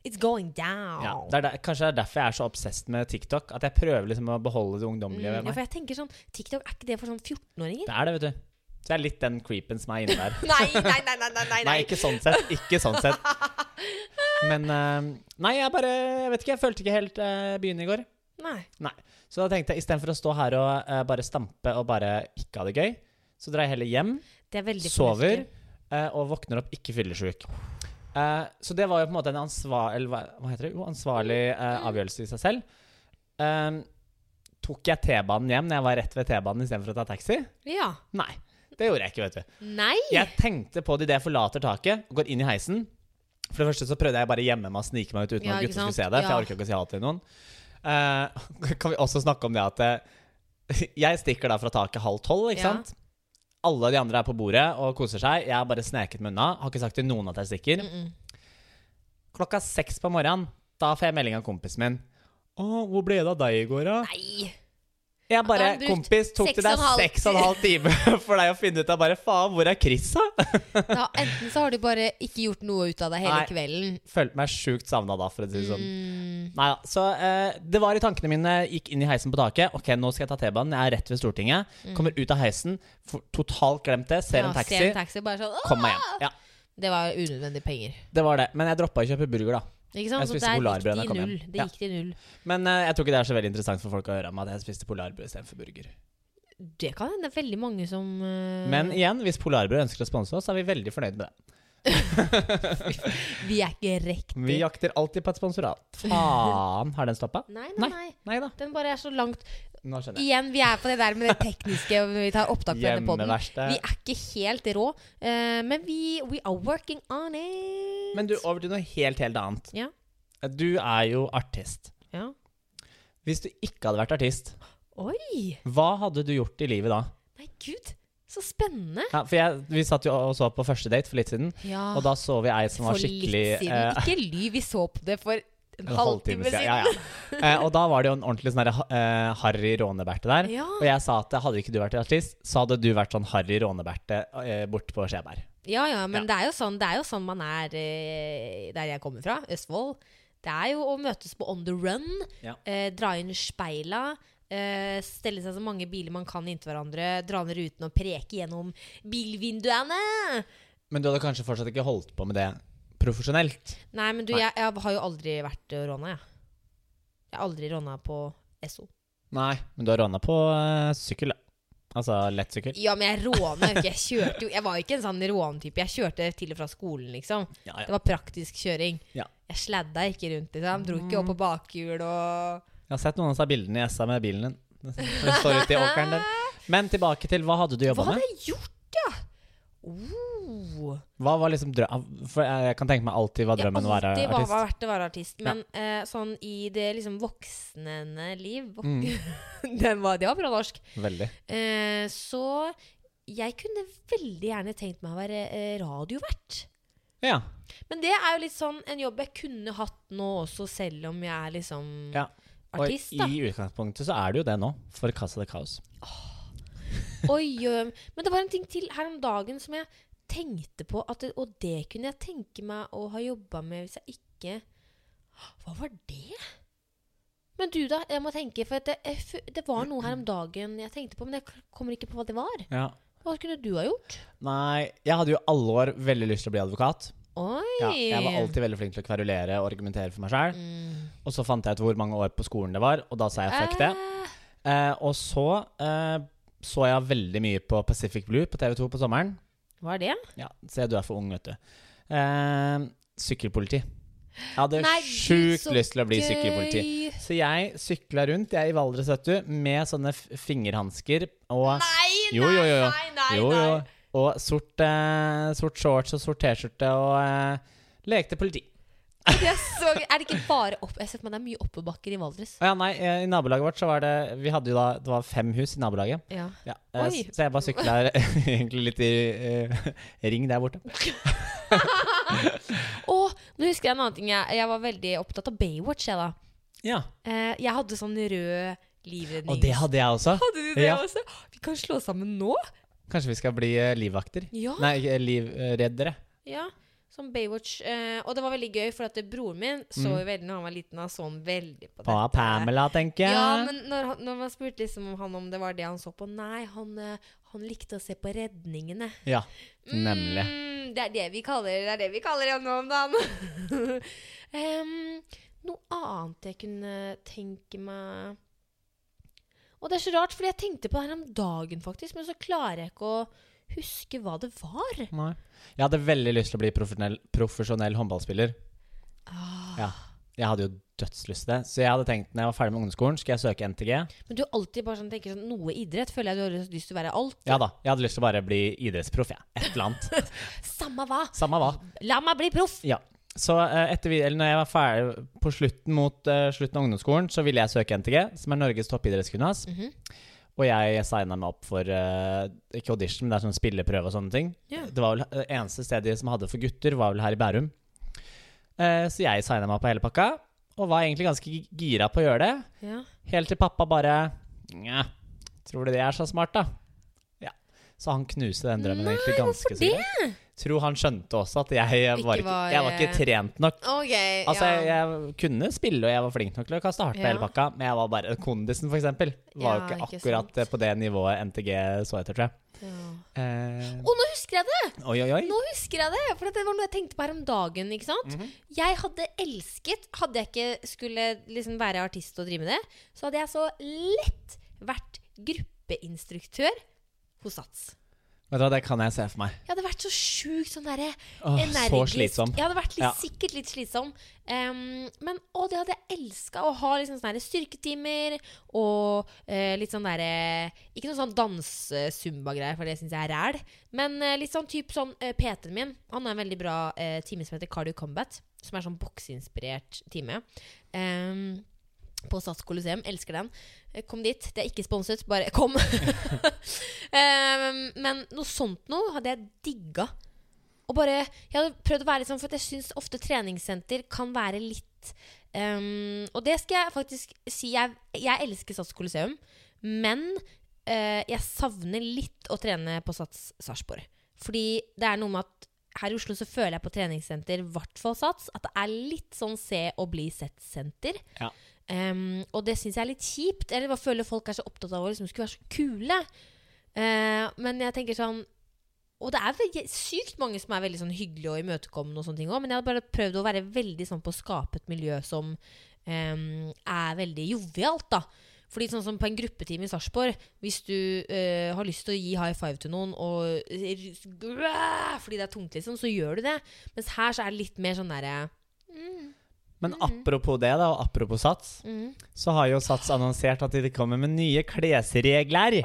[SPEAKER 2] It's going down.
[SPEAKER 1] Ja, det er der, kanskje det er derfor jeg er så obsessed med TikTok. At jeg prøver liksom å beholde det ungdommelige ved
[SPEAKER 2] Mm, ja,
[SPEAKER 1] meg.
[SPEAKER 2] for jeg tenker sånn TikTok, er ikke det for sånn 14-åringer?
[SPEAKER 1] Det er det, vet du. Så jeg er litt den creepen som er inne der.
[SPEAKER 2] Nei, nei, nei, nei, nei, nei,
[SPEAKER 1] Nei, ikke sånn sett. Ikke sånn sett. Men eh, Nei, jeg bare Jeg vet ikke, jeg følte ikke helt eh, byen i går.
[SPEAKER 2] Nei.
[SPEAKER 1] Så da tenkte jeg istedenfor å stå her og eh, bare stampe og bare ikke ha det gøy, så drar jeg heller hjem,
[SPEAKER 2] Det er veldig
[SPEAKER 1] sover
[SPEAKER 2] fornuftig.
[SPEAKER 1] eh, og våkner opp ikke fyllesyk. Eh, så det var jo på en måte en ansvar, eller hva, hva heter det? Jo, ansvarlig eh, avgjørelse i seg selv. Eh, tok jeg T-banen hjem når jeg var rett ved T-banen istedenfor å ta taxi?
[SPEAKER 2] Ja.
[SPEAKER 1] Nei. Det gjorde jeg ikke, vet du.
[SPEAKER 2] Nei.
[SPEAKER 1] Jeg tenkte på det idet jeg forlater taket og går inn i heisen. For det første så prøvde jeg bare hjemme meg å snike meg ut uten
[SPEAKER 2] Ja,
[SPEAKER 1] at
[SPEAKER 2] ikke
[SPEAKER 1] gutta skulle se
[SPEAKER 2] sant?
[SPEAKER 1] det. For
[SPEAKER 2] Ja.
[SPEAKER 1] jeg orker ikke å si ha det til noen. Eh, (laughs) kan vi også snakke om det at eh, (laughs) jeg stikker da fra taket halv tolv, ikke
[SPEAKER 2] Ja.
[SPEAKER 1] sant? Alle de andre er på bordet og koser seg. Jeg har bare sneket meg unna. Har ikke sagt til noen at jeg stikker.
[SPEAKER 2] Mm -mm.
[SPEAKER 1] Klokka seks på morgenen, da får jeg melding av kompisen min. Å, hvor ble det av deg i går, da?
[SPEAKER 2] Nei.
[SPEAKER 1] Jeg
[SPEAKER 2] Da
[SPEAKER 1] bare,
[SPEAKER 2] har han brukt
[SPEAKER 1] kompis, tok
[SPEAKER 2] seks
[SPEAKER 1] det
[SPEAKER 2] og en
[SPEAKER 1] deg
[SPEAKER 2] halv
[SPEAKER 1] seks og en
[SPEAKER 2] (laughs)
[SPEAKER 1] halv time (laughs) for deg å finne ut av bare faen, hvor er Chris, da?
[SPEAKER 2] Da, enten så har du bare ikke gjort noe ut av det hele
[SPEAKER 1] Nei.
[SPEAKER 2] kvelden.
[SPEAKER 1] følte meg sjukt savna da, for å si det sånn.
[SPEAKER 2] Mm.
[SPEAKER 1] Neida, så eh, det var i tankene mine. Gikk inn i heisen på taket. Ok, nå skal jeg ta T-banen. Jeg er rett ved Stortinget. Kommer ut av heisen, for, totalt glemt det. Ser
[SPEAKER 2] Mm. Ja,
[SPEAKER 1] en taxi.
[SPEAKER 2] Ser en taxi bare sånn, «Åh!»
[SPEAKER 1] Kom meg hjem. Ja,
[SPEAKER 2] Det var unødvendige penger.
[SPEAKER 1] det var det. Men jeg droppa å kjøpe burger, da.
[SPEAKER 2] Ikke sant?
[SPEAKER 1] Jeg spiste polarbrød da jeg
[SPEAKER 2] gikk
[SPEAKER 1] kom
[SPEAKER 2] de i
[SPEAKER 1] hjem.
[SPEAKER 2] null. Det
[SPEAKER 1] Ja.
[SPEAKER 2] gikk til null.
[SPEAKER 1] Men eh, jeg tror ikke det er så veldig interessant for folk å høre om at jeg spiste polarbrød istedenfor burger.
[SPEAKER 2] Det kan hende det er veldig mange som eh,
[SPEAKER 1] Men igjen, hvis Polarbrød ønsker å sponse oss, så er vi veldig fornøyd med det.
[SPEAKER 2] vi er ikke riktig.
[SPEAKER 1] Vi jakter alltid på et sponsorat. Faen, har den stoppa?
[SPEAKER 2] Nei, nei, nei.
[SPEAKER 1] Nei da.
[SPEAKER 2] Den bare er så langt
[SPEAKER 1] Nå skjønner jeg.
[SPEAKER 2] Igjen, vi er på det der med det tekniske og vi tar opptak på denne podden.
[SPEAKER 1] Hjemmeverste.
[SPEAKER 2] Vi er ikke helt rå, eh, men vi we are working on it.
[SPEAKER 1] Men du, over til noe helt, helt annet.
[SPEAKER 2] Ja.
[SPEAKER 1] Du er jo artist.
[SPEAKER 2] ja.
[SPEAKER 1] Hvis du ikke hadde vært artist,
[SPEAKER 2] Oi!
[SPEAKER 1] hva hadde du gjort i livet da?
[SPEAKER 2] Nei, gud, så spennende.
[SPEAKER 1] Ja, for jeg, Vi satt jo og så på første date for litt siden,
[SPEAKER 2] Ja.
[SPEAKER 1] og da så vi ei som var
[SPEAKER 2] for
[SPEAKER 1] skikkelig
[SPEAKER 2] litt siden.
[SPEAKER 1] eh,
[SPEAKER 2] Ikke lyv, vi så på det for en
[SPEAKER 1] en
[SPEAKER 2] halvtime siden.
[SPEAKER 1] Ja, ja. Eh, og da var det jo en ordentlig sånn derre, eh, harry råneberte der.
[SPEAKER 2] Ja.
[SPEAKER 1] Og jeg sa at hadde ikke du vært artist, så hadde du vært sånn harry råneberte eh, bort på Skjeberg.
[SPEAKER 2] Ja, ja, men
[SPEAKER 1] Ja.
[SPEAKER 2] Det, er jo sånn, det er jo sånn man er eh, der jeg kommer fra, Østfold. Det er jo å møtes på on the run,
[SPEAKER 1] Ja.
[SPEAKER 2] eh, dra inn speila, eh, stelle seg så mange biler man kan inntil hverandre, dra ned ruten og preke gjennom bilvinduene.
[SPEAKER 1] Men du hadde kanskje fortsatt ikke holdt på med det profesjonelt?
[SPEAKER 2] Nei, men du,
[SPEAKER 1] Nei.
[SPEAKER 2] Jeg, jeg har jo aldri vært eh, råna, jeg. Jeg har aldri råna på SO.
[SPEAKER 1] Nei, men du har råna på eh, sykkel. da. Altså lett sykkel.
[SPEAKER 2] Ja, men jeg råna jo ikke. Jeg kjørte jo Jeg var jo ikke en sånn råntype. Jeg kjørte til og fra skolen, liksom.
[SPEAKER 1] Ja,
[SPEAKER 2] Det
[SPEAKER 1] ja.
[SPEAKER 2] var praktisk kjøring.
[SPEAKER 1] Ja.
[SPEAKER 2] Jeg sladda ikke rundt, liksom. Dro ikke opp på bakhjul og
[SPEAKER 1] Jeg har sett noen av disse bildene i SA med bilen din. Den står ute i åkeren der. Men tilbake til hva hadde du jobba
[SPEAKER 2] Hva
[SPEAKER 1] med?
[SPEAKER 2] hadde jeg gjort, ja? Oh.
[SPEAKER 1] Hva var liksom drøm... For jeg kan tenke meg alltid hva drømmen
[SPEAKER 2] ja,
[SPEAKER 1] var å
[SPEAKER 2] alltid
[SPEAKER 1] være
[SPEAKER 2] var,
[SPEAKER 1] artist.
[SPEAKER 2] var verdt å være artist. Men eh, sånn i det liksom voksne liv vok
[SPEAKER 1] Mm.
[SPEAKER 2] Den var, (laughs) Det var bra norsk.
[SPEAKER 1] Veldig.
[SPEAKER 2] Eh, så jeg kunne veldig gjerne tenkt meg å være eh, radiovert.
[SPEAKER 1] Ja.
[SPEAKER 2] Men det er jo litt sånn en jobb jeg kunne hatt nå også, selv om jeg er liksom
[SPEAKER 1] Ja. Og
[SPEAKER 2] artist, da.
[SPEAKER 1] i utgangspunktet så er det jo det nå, for Casa de Caos.
[SPEAKER 2] Oi, ø, men det var en ting til her om dagen som jeg tenkte på, at, det- og det kunne jeg tenke meg å ha jobba med hvis jeg ikke Hva var det? Men du, da? Jeg må tenke, for at det, jeg fu- det var noe her om dagen jeg tenkte på, men jeg k- kommer ikke på hva det var.
[SPEAKER 1] Ja.
[SPEAKER 2] Hva kunne du ha gjort?
[SPEAKER 1] Nei, jeg hadde jo alle år veldig lyst til å bli advokat.
[SPEAKER 2] Oi!
[SPEAKER 1] Ja, jeg var alltid veldig flink til å kverulere og argumentere for meg sjøl.
[SPEAKER 2] Mm.
[SPEAKER 1] Og så fant jeg ut hvor mange år på skolen det var, og da sa jeg fuck det.
[SPEAKER 2] Eh,
[SPEAKER 1] Eh, og så eh, så jeg veldig mye på Pacific Blue på TV2 på sommeren.
[SPEAKER 2] Hva er det?
[SPEAKER 1] Ja, Se, du er for ung, vet du. Eh, sykkelpoliti. Jeg hadde
[SPEAKER 2] Nei, Gud,
[SPEAKER 1] sjukt
[SPEAKER 2] så
[SPEAKER 1] lyst til å bli sykkelpoliti.
[SPEAKER 2] gøy.
[SPEAKER 1] Så jeg sykla rundt jeg i Valdres vet du, med sånne f- fingerhansker og
[SPEAKER 2] Nei,
[SPEAKER 1] Jo, jo, jo, jo.
[SPEAKER 2] nei, nei,
[SPEAKER 1] jo,
[SPEAKER 2] nei.
[SPEAKER 1] jo, og sort, eh, sort shorts og sort T-skjorte og eh, lekte politi.
[SPEAKER 2] Det er, så, gøy. er det ikke bare opp... Jeg ser for meg det er mye oppebakker i Valdres.
[SPEAKER 1] Å Ja, nei, eh, I nabolaget vårt så var det Vi hadde jo da Det var fem hus i nabolaget.
[SPEAKER 2] Ja.
[SPEAKER 1] Ja, eh,
[SPEAKER 2] Oi.
[SPEAKER 1] s- så jeg bare sykla (laughs) egentlig litt i eh, ring der borte.
[SPEAKER 2] Og nå husker jeg en annen ting. Jeg, jeg var veldig opptatt av Baywatch. Jeg, da.
[SPEAKER 1] Ja,
[SPEAKER 2] Eh, jeg hadde sånn rød livredning.
[SPEAKER 1] Og det hadde jeg også.
[SPEAKER 2] Hadde du det
[SPEAKER 1] Ja.
[SPEAKER 2] også? Vi kan slå sammen nå?
[SPEAKER 1] Kanskje vi skal bli eh, livvakter?
[SPEAKER 2] Ja.
[SPEAKER 1] Nei, ikke, eh, livreddere.
[SPEAKER 2] ja. Som Baywatch. Eh, og det var veldig gøy, for at broren min så
[SPEAKER 1] Mm.
[SPEAKER 2] jo veldig når han var liten. Han så han veldig på det.
[SPEAKER 1] Hva er Pamela, tenker jeg.
[SPEAKER 2] Ja, men når, han- når man spurte liksom han om det var det han så på Nei, han, eh, han likte å se på redningene.
[SPEAKER 1] Ja, nemlig.
[SPEAKER 2] Mm, det er det vi kaller det, er det vi kaller det nå om dagen. (laughs) Em, noe annet jeg kunne tenke meg Og det er så rart, fordi jeg tenkte på det her om dagen, faktisk, men så klarer jeg ikke å huske hva det var.
[SPEAKER 1] Nei. Jeg hadde veldig lyst til å bli profesjonell, profesjonell håndballspiller.
[SPEAKER 2] Ah,
[SPEAKER 1] Ja. Jeg hadde jo dødslyst til det. Så jeg hadde tenkt når jeg var ferdig med ungdomsskolen, skal jeg søke NTG.
[SPEAKER 2] Men du alltid bare sånn tenker sånn Noe idrett føler jeg du har lyst til å være alt.
[SPEAKER 1] Ja da. Jeg hadde lyst til å bare bli idrettsproff, jeg. Et eller annet.
[SPEAKER 2] Samme hva!
[SPEAKER 1] Samme hva.
[SPEAKER 2] La meg bli proff!
[SPEAKER 1] Ja. Så eh, etter, vi- eller når jeg var ferdig på slutten mot eh, slutten av ungdomsskolen, så ville jeg søke NTG, som er Norges toppidrettsgymnas.
[SPEAKER 2] Mhm.
[SPEAKER 1] Og jeg signa meg opp for eh, ikke audition, men det er sånn spilleprøve og sånne ting.
[SPEAKER 2] Ja.
[SPEAKER 1] Det var vel det eneste stedet som hadde for gutter, var vel her i Bærum. Eh, så jeg signa meg opp på hele pakka, og var egentlig ganske gi- gira på å gjøre det.
[SPEAKER 2] Ja.
[SPEAKER 1] Helt til pappa bare Nja, tror du det er så smart, da? Ja. Så han knuste den drømmen egentlig ganske
[SPEAKER 2] hvorfor det?
[SPEAKER 1] sikkert. Tror han skjønte også at jeg, eh,
[SPEAKER 2] Ikke
[SPEAKER 1] var, ikke,
[SPEAKER 2] var,
[SPEAKER 1] jeg var
[SPEAKER 2] eh,
[SPEAKER 1] ikke trent nok.
[SPEAKER 2] Ok,
[SPEAKER 1] Altså,
[SPEAKER 2] ja.
[SPEAKER 1] jeg, jeg kunne spille, og jeg var flink nok til å kaste hardt på
[SPEAKER 2] Ja.
[SPEAKER 1] hele pakka, men jeg var bare kondisen, for eksempel, var jo
[SPEAKER 2] Ja,
[SPEAKER 1] ikke
[SPEAKER 2] ikke
[SPEAKER 1] akkurat
[SPEAKER 2] sant.
[SPEAKER 1] eh, på det nivået NTG så etter, tror jeg.
[SPEAKER 2] ja.
[SPEAKER 1] Eh,
[SPEAKER 2] Å, nå husker jeg det!
[SPEAKER 1] oi, oi, oi.
[SPEAKER 2] Nå husker jeg det, for det var noe jeg tenkte på her om dagen. ikke sant? Jeg hadde elsket Hadde jeg ikke skulle liksom være artist og drive med det, så hadde jeg så lett vært gruppeinstruktør hos Sats.
[SPEAKER 1] Vet du hva, det kan jeg se for meg.
[SPEAKER 2] Jeg hadde vært så sjukt sånn derre
[SPEAKER 1] Åh,
[SPEAKER 2] energisk.
[SPEAKER 1] så slitsom.
[SPEAKER 2] Jeg hadde vært litt,
[SPEAKER 1] Ja.
[SPEAKER 2] sikkert litt slitsom. Em, men å, det hadde jeg elska. Å ha liksom sånne her styrketimer og eh, litt sånn derre Ikke noe sånn danse-zumba-greier, for det syns jeg er ræl. Men eh, litt sånn type sånn eh, PT-en min. Han har en veldig bra eh, time som heter Cardio Combat, som er sånn bokseinspirert time. Em, på Sats Colosseum. Elsker den. Eh, Kom dit. Det er ikke sponset, bare kom. (laughs) Em, men noe sånt noe hadde jeg digga. Og bare, jeg hadde prøvd å være litt sånn, for at jeg syns ofte treningssenter kan være litt ehm, Og det skal jeg faktisk si. Jeg, jeg elsker Sats Coliseum, men eh, jeg savner litt å trene på Sats Sarpsborg. Fordi det er noe med at her i Oslo så føler jeg på treningssenter, i hvert fall Sats, at det er litt sånn se og bli sett-senter.
[SPEAKER 1] Ja.
[SPEAKER 2] Ehm, og det syns jeg er litt kjipt. Eller jeg føler folk er så opptatt av å liksom skulle være så kule. Eh, men jeg tenker sånn Og det er veldig, sykt mange som er veldig sånn hyggelige og imøtekommende, og sånne ting også, men jeg hadde bare prøvd å være veldig sånn på å skape et miljø som ehm, er veldig jovialt. da fordi sånn som På en gruppetime i Sarpsborg, hvis du eh, har lyst til å gi high five til noen og fordi det er tungt, liksom, så gjør du det. Mens her så er det litt mer sånn derre mm,
[SPEAKER 1] Men apropos det, da, og apropos Sats,
[SPEAKER 2] mm.
[SPEAKER 1] så har jo Sats annonsert at de kommer med nye klesregler.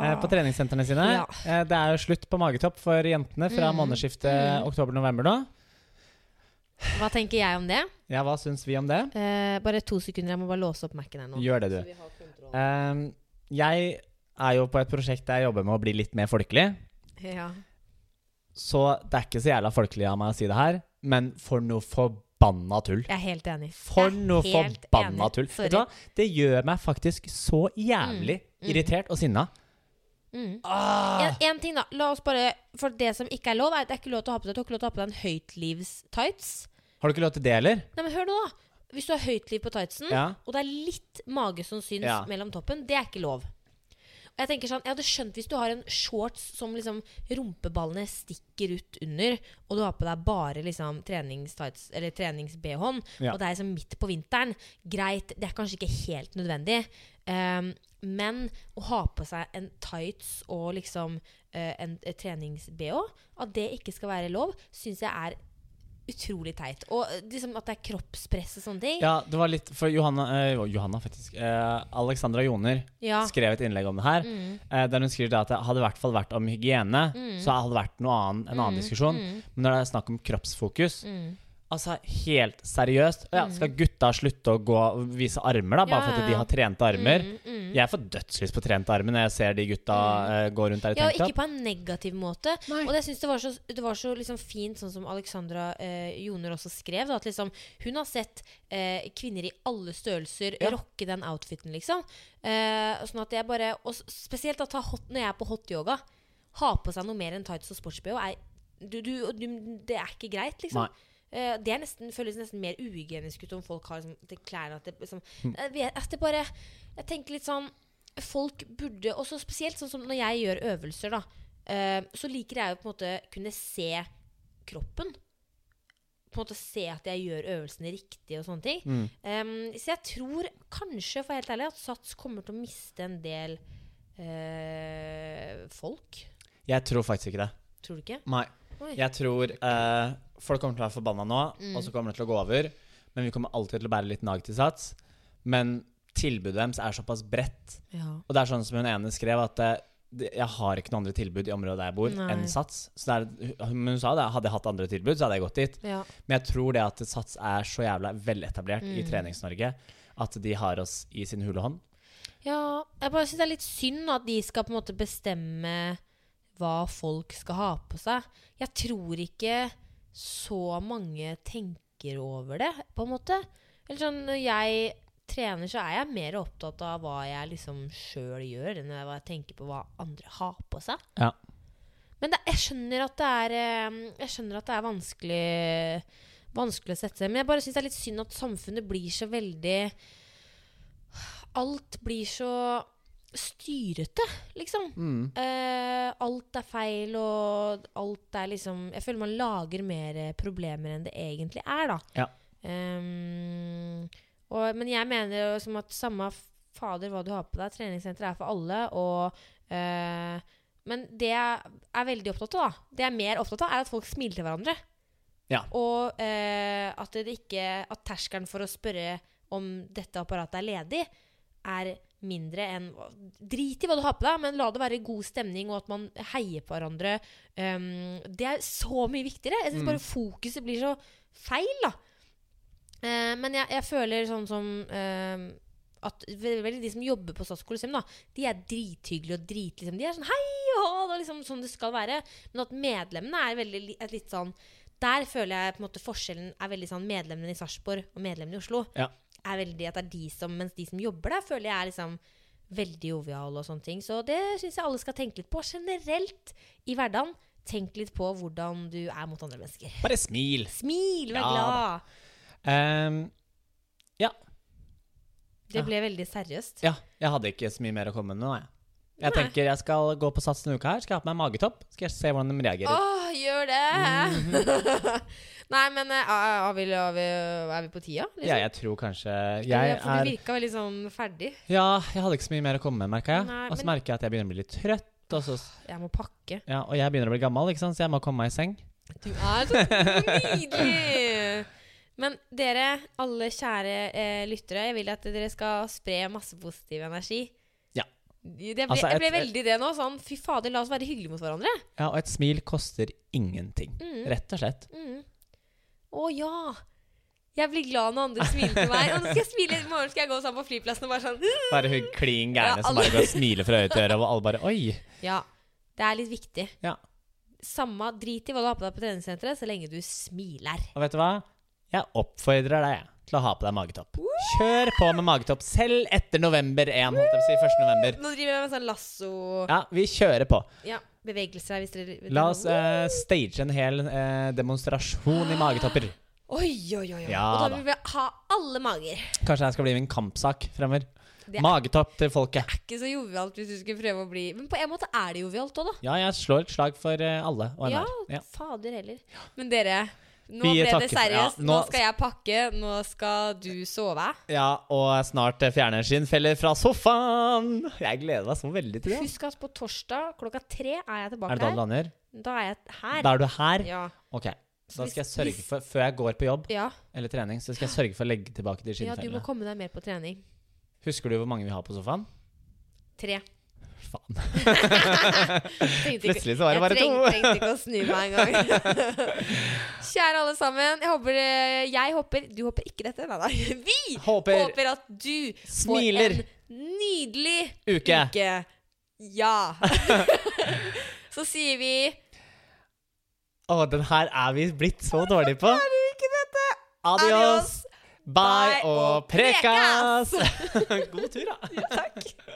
[SPEAKER 1] eh, på treningssentrene sine.
[SPEAKER 2] Ah. Ja.
[SPEAKER 1] Eh, Det er jo slutt på magetopp for jentene fra
[SPEAKER 2] Mm.
[SPEAKER 1] månedsskiftet
[SPEAKER 2] Mm.
[SPEAKER 1] oktober-november nå.
[SPEAKER 2] Hva tenker jeg om det?
[SPEAKER 1] Ja, hva syns vi om det?
[SPEAKER 2] Eh, bare to sekunder, jeg må bare låse opp Mac-en her nå.
[SPEAKER 1] Gjør det,
[SPEAKER 2] Så
[SPEAKER 1] du.
[SPEAKER 2] vi har kontroll.
[SPEAKER 1] Ehm, jeg er jo på et prosjekt der jeg jobber med å bli litt mer folkelig.
[SPEAKER 2] Ja.
[SPEAKER 1] Så det er ikke så jævla folkelig av meg å si det her, men for noe forbanna tull.
[SPEAKER 2] Jeg er helt enig.
[SPEAKER 1] For
[SPEAKER 2] Jeg er
[SPEAKER 1] noe
[SPEAKER 2] helt
[SPEAKER 1] forbanna
[SPEAKER 2] enig.
[SPEAKER 1] tull.
[SPEAKER 2] Sorry.
[SPEAKER 1] Vet du hva? Det gjør meg faktisk så jævlig
[SPEAKER 2] Mm.
[SPEAKER 1] irritert og sinna.
[SPEAKER 2] Mm.
[SPEAKER 1] Ah!
[SPEAKER 2] En, en ting da, la oss bare For det som ikke er lov, er at det er ikke lov til å ha på deg Du har ikke lov til å ha på deg en høytlivstights.
[SPEAKER 1] Har du ikke lov til det heller?
[SPEAKER 2] Nei, men hør nå, da. Hvis du har høytliv på tightsen,
[SPEAKER 1] Ja.
[SPEAKER 2] og det er litt mage som syns
[SPEAKER 1] Ja.
[SPEAKER 2] mellom toppen, det er ikke lov. Og Jeg tenker sånn, jeg hadde skjønt hvis du har en shorts som liksom rumpeballene stikker ut under, og du har på deg bare liksom treningstights, eller trenings-BH-en,
[SPEAKER 1] Ja.
[SPEAKER 2] og det er liksom midt på vinteren. Greit, det er kanskje ikke helt nødvendig. Ehm, men å ha på seg en tights og liksom eh, en, en trenings-BH, at det ikke skal være lov, syns jeg er utrolig teit. Og eh, liksom at det er kroppspress og sånne ting.
[SPEAKER 1] Ja, det var litt For Johanna, eh, Johanna faktisk. eh, Alexandra Joner
[SPEAKER 2] Ja.
[SPEAKER 1] skrev et innlegg om det her.
[SPEAKER 2] Ah. Mm.
[SPEAKER 1] eh, der hun skriver da at det hadde i hvert fall vært om hygiene, så hadde det vært noe annen, en annen diskusjon. Men når det er snakk om kroppsfokus
[SPEAKER 2] Mm.
[SPEAKER 1] Altså, helt seriøst. Ja, skal gutta slutte å gå og vise armer, da? Bare for
[SPEAKER 2] Ja, ja,
[SPEAKER 1] at de
[SPEAKER 2] ja.
[SPEAKER 1] har trente armer?
[SPEAKER 2] Mm, mm.
[SPEAKER 1] Jeg får dødslyst på trente armer når jeg ser de gutta eh, gå rundt der i
[SPEAKER 2] Ja, og ikke
[SPEAKER 1] tanktop.
[SPEAKER 2] på en negativ måte.
[SPEAKER 1] Nei.
[SPEAKER 2] Og det synes det var så, det var så liksom fint, sånn som Alexandra eh, Joner også skrev, da, at liksom, hun har sett eh, kvinner i alle størrelser
[SPEAKER 1] Ja.
[SPEAKER 2] rocke den outfiten, liksom. Eh, sånn at jeg bare, og s- spesielt at ta hot, når jeg er på hot yoga, ha på seg noe mer enn tights og sports-BH, er- du, du, du, det er ikke greit, liksom.
[SPEAKER 1] Nei.
[SPEAKER 2] Eh, det er nesten, føles nesten mer uhygienisk ut om folk har liksom, det klærne at det, liksom,
[SPEAKER 1] Hm.
[SPEAKER 2] jeg, vet, at det bare, jeg tenker litt sånn Folk burde Og så spesielt sånn som når jeg gjør øvelser, da. eh, så liker jeg jo på en måte kunne se kroppen. På en måte se at jeg gjør øvelsene riktig og sånne ting.
[SPEAKER 1] Mm.
[SPEAKER 2] Em, så jeg tror kanskje, for å være helt ærlig, at Sats kommer til å miste en del eh, folk.
[SPEAKER 1] Jeg tror faktisk ikke det.
[SPEAKER 2] Tror du ikke?
[SPEAKER 1] Nei.
[SPEAKER 2] Oi. Mm.
[SPEAKER 1] Jeg tror eh, folk kommer til å være forbanna nå, og så kommer det til å gå over. Men vi kommer alltid til å bære litt nag til sats. Men tilbudet deres er såpass bredt.
[SPEAKER 2] Ja.
[SPEAKER 1] Og det er sånn som hun ene skrev, at eh, det- jeg har ikke noe andre tilbud i området der jeg bor,
[SPEAKER 2] Nei.
[SPEAKER 1] enn Sats. Så det er, men hun sa det, hadde jeg hatt andre tilbud, så hadde jeg gått dit.
[SPEAKER 2] ja.
[SPEAKER 1] Men jeg tror det at Sats er så jævla veletablert
[SPEAKER 2] Mm.
[SPEAKER 1] i Trenings-Norge at de har oss i sin hule hånd.
[SPEAKER 2] Ja, jeg bare syns det er litt synd at de skal på en måte bestemme hva folk skal ha på seg. Jeg tror ikke så mange tenker over det, på en måte. Eller sånn, Når jeg trener, så er jeg mer opptatt av hva jeg liksom sjøl gjør, enn hva jeg tenker på hva andre har på seg.
[SPEAKER 1] Ja.
[SPEAKER 2] Men det, jeg, skjønner at det er, eh, jeg skjønner at det er vanskelig, vanskelig å sette seg Men jeg bare syns det er litt synd at samfunnet blir så veldig Alt blir så styrete, liksom.
[SPEAKER 1] Mm.
[SPEAKER 2] Eh, alt er feil, og alt er liksom Jeg føler man lager mer eh, problemer enn det egentlig er, da.
[SPEAKER 1] Ja.
[SPEAKER 2] Ehm, og, men jeg mener jo som at samme f- fader hva du har på deg, treningssenter er for alle, og eh, Men det jeg er veldig opptatt av, da, det jeg er mer opptatt av, er at folk smiler til hverandre.
[SPEAKER 1] Ja.
[SPEAKER 2] Og eh, at det ikke At terskelen for å spørre om dette apparatet er ledig, er mindre enn Drit i hva du har på deg, men la det være god stemning, og at man heier på hverandre. Um, det er så mye viktigere. Jeg syns bare fokuset blir så feil, da. Eh, men jeg, jeg føler sånn som eh, at ve- veldig de som jobber på Stats Colosseum, da, de er drithyggelige og drit liksom. De er sånn hei og hå, det er liksom sånn det skal være. Men at medlemmene er veldig li- et litt sånn Der føler jeg på en måte forskjellen er veldig sånn medlemmene i Sarpsborg og medlemmene i Oslo
[SPEAKER 1] Ja.
[SPEAKER 2] er veldig at det er de som Mens de som jobber der, føler jeg er liksom veldig joviale og sånne ting. Så det syns jeg alle skal tenke litt på generelt i hverdagen. Tenk litt på hvordan du er mot andre mennesker.
[SPEAKER 1] Bare smil!
[SPEAKER 2] Smil, vær
[SPEAKER 1] Ja
[SPEAKER 2] glad!
[SPEAKER 1] Ehm,
[SPEAKER 2] Det ble veldig seriøst.
[SPEAKER 1] ja, jeg hadde ikke så mye mer å komme med nå, jeg. Jeg
[SPEAKER 2] Nei.
[SPEAKER 1] tenker jeg skal gå på Sats denne uka her. Skal jeg ha på meg magetopp. Skal jeg se hvordan de reagerer.
[SPEAKER 2] Åh, gjør det!
[SPEAKER 1] Mhm.
[SPEAKER 2] (laughs) Nei, men eh, er er vi, er vi, er vi på tida? Liksom?
[SPEAKER 1] Ja, jeg tror kanskje
[SPEAKER 2] Eller,
[SPEAKER 1] jeg
[SPEAKER 2] for
[SPEAKER 1] er
[SPEAKER 2] Du virka veldig sånn ferdig.
[SPEAKER 1] Ja, jeg hadde ikke så mye mer å komme med, merka jeg.
[SPEAKER 2] Nei,
[SPEAKER 1] Og så
[SPEAKER 2] men-
[SPEAKER 1] merker jeg at jeg begynner å bli litt trøtt. Og, så,
[SPEAKER 2] Jeg må pakke.
[SPEAKER 1] ja, og jeg begynner å bli gammel, ikke sant? så jeg må komme meg i seng.
[SPEAKER 2] Du er så nydelig! Men dere, alle kjære eh, lyttere, jeg vil at dere skal spre masse positiv energi.
[SPEAKER 1] Ja.
[SPEAKER 2] Jeg ble,
[SPEAKER 1] Altså,
[SPEAKER 2] jeg ble
[SPEAKER 1] et-
[SPEAKER 2] veldig det nå. Sånn, fy fader, la oss være hyggelige mot hverandre.
[SPEAKER 1] Ja, og et smil koster ingenting.
[SPEAKER 2] Mm.
[SPEAKER 1] Rett og slett.
[SPEAKER 2] Mm. Å ja! Jeg blir glad når andre smiler til meg. Og nå skal jeg smile i morgen skal jeg gå sammen på flyplassen og bare sånn
[SPEAKER 1] Bare hun klin gærne
[SPEAKER 2] Ja,
[SPEAKER 1] som
[SPEAKER 2] alle-
[SPEAKER 1] bare går og smiler fra øye til øre, og alle bare Oi!
[SPEAKER 2] Ja, det er litt viktig.
[SPEAKER 1] Ja.
[SPEAKER 2] Samme drit i hva du har på deg på treningssenteret, så lenge du smiler.
[SPEAKER 1] Og vet du hva? Jeg oppfordrer deg jeg, til å ha på deg magetopp. Kjør på med magetopp, selv etter november 1, holdt jeg på å si. 1. november.
[SPEAKER 2] Nå driver jeg med sånn lasso
[SPEAKER 1] Ja, vi kjører på.
[SPEAKER 2] Ja, bevegelser her, hvis dere vet
[SPEAKER 1] La oss eh, stage en hel eh, demonstrasjon i magetopper.
[SPEAKER 2] Oi, oi, oi. oi.
[SPEAKER 1] Ja,
[SPEAKER 2] og da
[SPEAKER 1] da.
[SPEAKER 2] vil vi ha alle mager.
[SPEAKER 1] Kanskje det skal bli min kampsak fremover.
[SPEAKER 2] Det er-
[SPEAKER 1] Magetopp til folket.
[SPEAKER 2] Ikke så jovialt hvis du skulle prøve å bli Men på en måte er det jovialt òg, da.
[SPEAKER 1] Ja, jeg slår et slag for eh, alle og
[SPEAKER 2] Ja,
[SPEAKER 1] enhver. Ja.
[SPEAKER 2] fader heller. Men dere, nå
[SPEAKER 1] Vi
[SPEAKER 2] ble det
[SPEAKER 1] takker for- ja,
[SPEAKER 2] seriøst. nå
[SPEAKER 1] nå-
[SPEAKER 2] skal jeg pakke, nå skal du sove.
[SPEAKER 1] ja, og snart eh, fjerner skinnfeller fra sofaen. Jeg gleder meg så veldig til det.
[SPEAKER 2] Husk at på torsdag klokka tre er jeg tilbake
[SPEAKER 1] Er det da du
[SPEAKER 2] her.
[SPEAKER 1] lander?
[SPEAKER 2] Da er jeg her.
[SPEAKER 1] Da er du her?
[SPEAKER 2] Ja.
[SPEAKER 1] Ok.
[SPEAKER 2] Så
[SPEAKER 1] Da
[SPEAKER 2] hvis-
[SPEAKER 1] skal jeg sørge
[SPEAKER 2] hvis-
[SPEAKER 1] for, før jeg går på jobb
[SPEAKER 2] Ja.
[SPEAKER 1] eller trening, så skal jeg sørge for å legge tilbake de
[SPEAKER 2] ja, du må
[SPEAKER 1] skinnfellene.
[SPEAKER 2] komme deg mer på trening.
[SPEAKER 1] Husker du hvor mange vi har på sofaen?
[SPEAKER 2] Tre.
[SPEAKER 1] Faen.
[SPEAKER 2] Tenkte ikke-
[SPEAKER 1] Plutselig så var det bare
[SPEAKER 2] jeg treng-
[SPEAKER 1] to.
[SPEAKER 2] trengte ikke å snu meg engang. (laughs) Kjære alle sammen. Jeg håper, eh, jeg håper Du håper ikke dette, nei (laughs) da. Vi
[SPEAKER 1] Håper,
[SPEAKER 2] håper at du
[SPEAKER 1] Smiler.
[SPEAKER 2] får en nydelig
[SPEAKER 1] uke.
[SPEAKER 2] uke. Ja. (laughs) Så sier vi
[SPEAKER 1] Å, den her er vi blitt så dårlige på. Adios,
[SPEAKER 2] adios.
[SPEAKER 1] bye
[SPEAKER 2] Bye
[SPEAKER 1] og
[SPEAKER 2] og prekas!
[SPEAKER 1] prekas! (laughs) God tur, da.
[SPEAKER 2] Takk.